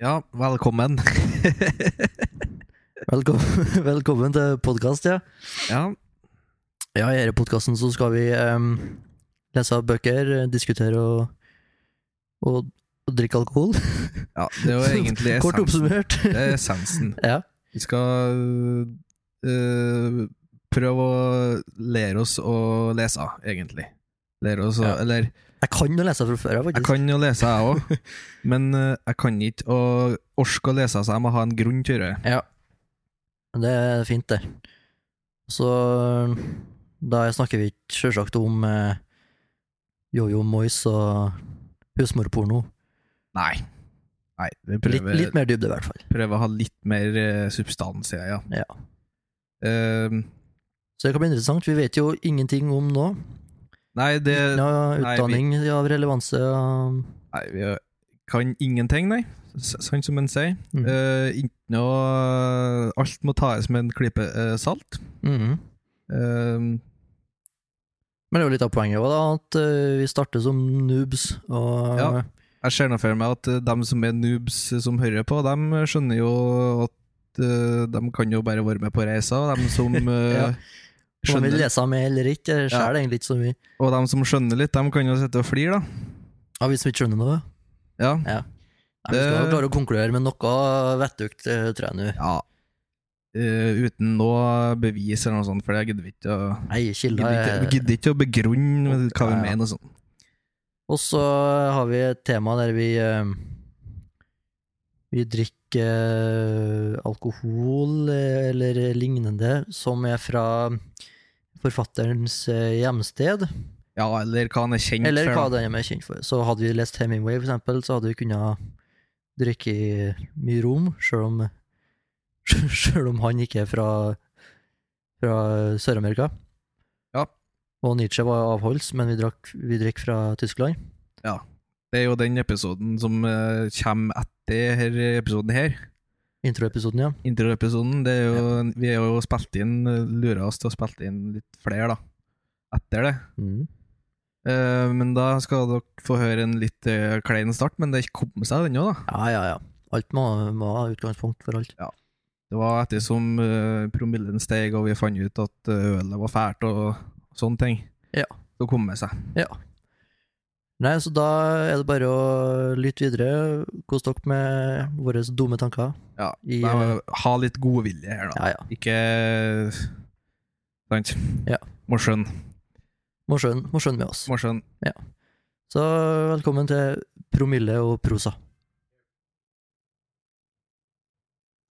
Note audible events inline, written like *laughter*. Ja, velkommen. *laughs* Velkommen, *laughs* velkommen til podkast, ja. Ja, Ja, I denne podkasten så skal vi em, lese av bøker, eh, diskutere og, og, og drikke alkohol. ja det er jo egentlig *laughs* Kort essensen. oppsummert. Det er essensen. *laughs* ja. Vi skal øh, prøve å lære oss å lese, egentlig. Lære oss å Ja. Eller, Jeg kan jo lese fra før av, jeg faktisk. kan jo lese, jeg *laughs* òg, men øh, jeg kan ikke å orke å lese, så jeg må ha en grunn til det. Ja. Det er fint, det. Så da snakker vi ikke sjølsagt om eh, Jojo Moyes og husmorporno. Nei. Nei, vi Litt, prøver, litt mer dybde, i hvert fall. prøver å ha litt mer øh, substans i det, ja. Ja. Ehm, Så det kan bli interessant. Vi vet jo ingenting om nå. nei, det Ja, nei, utdanning av relevanse. ja. Nei, vi kan ingenting, nei. S- Sånn som en sier. Mm. Eh, ikke noe Alt må tas med en klype eh, salt. Mhm. Eh, Men det er jo litt av poenget også, da, at eh, vi starter som noobs, og eh, Ja. jeg ser nå for meg at eh, dem som er noobs eh, som hører på, dem skjønner jo at eh, de kan jo bare være med på reisa, og dem *laughs* som eh, Ja. om vi skjønner leser med eller ikke, det skjer det egentlig ikke så mye. Og dem som skjønner litt, dem kan jo sitte og flire, da. Ja, hvis vi ikke skjønner noe. Ja. Nei, vi skal Det- klare å konkludere med noe vettugt, eh, tror jeg nå. ja. Eh, uten noe bevis eller noe sånt, for jeg gidder ikke å Nei, kilder gidder ikke, er- gidder ikke å begrunne hva vi Ja, ja. mener og sånn. Og så har vi et tema der vi eh, Vi drikker eh, alkohol eh, eller lignende, som er fra forfatterens eh, hjemsted. Ja, eller hva han er kjent Eller for. da. hva den er kjent for. Så hadde vi lest Hemingway, for eksempel, så hadde vi kunnet drikke mye rom, selv om, *laughs* selv om han ikke er fra, fra Sør-Amerika. Ja. Og Nietzsche var avholds, men vi drakk, vi drakk fra Tyskland. Det er jo den episoden som eh, kommer etter her episoden her. Introepisoden, ja. Introepisoden. Det er jo, Vi er jo spilt inn, eh, lurer oss til å spille inn litt flere, da. Etter det. Mm. Eh, men da skal dere få høre en litt eh, klein start, men det kom seg den òg, da. Ja, ja, ja. Alt må, må ha utgangspunkt for alt. Det var etter som eh, promillen steg og vi fant ut at eh, ølet var fælt og sånne ting. Ja. Så kom det seg. Nei, så da er det bare å lytte videre. Kos dere med våre dumme tanker. Ja. I, Nei, eh, ha litt godvilje her, da. Ja, ja. Ikke eh, Sant? Ja. Må skjønne. Må skjønne, må skjønne med oss. Må skjønne. Så velkommen til Promille og prosa.